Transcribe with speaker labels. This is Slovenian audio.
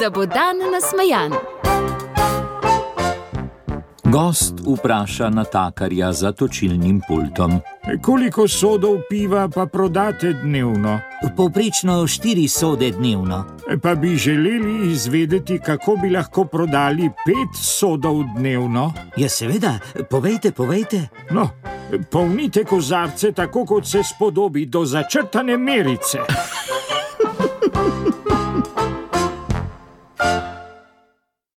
Speaker 1: da bo dan nasmejan.
Speaker 2: Gost vpraša natakarja za točilnim pultom.
Speaker 3: Koliko sodov piva pa prodate dnevno?
Speaker 4: Povprečno štiri sode dnevno.
Speaker 3: Pa bi želeli izvedeti, kako bi lahko prodali pet sodov dnevno?
Speaker 4: Ja, seveda, povejte, povejte.
Speaker 3: No, polnite kozarce tako, kot se spodobi, do začrtane merice.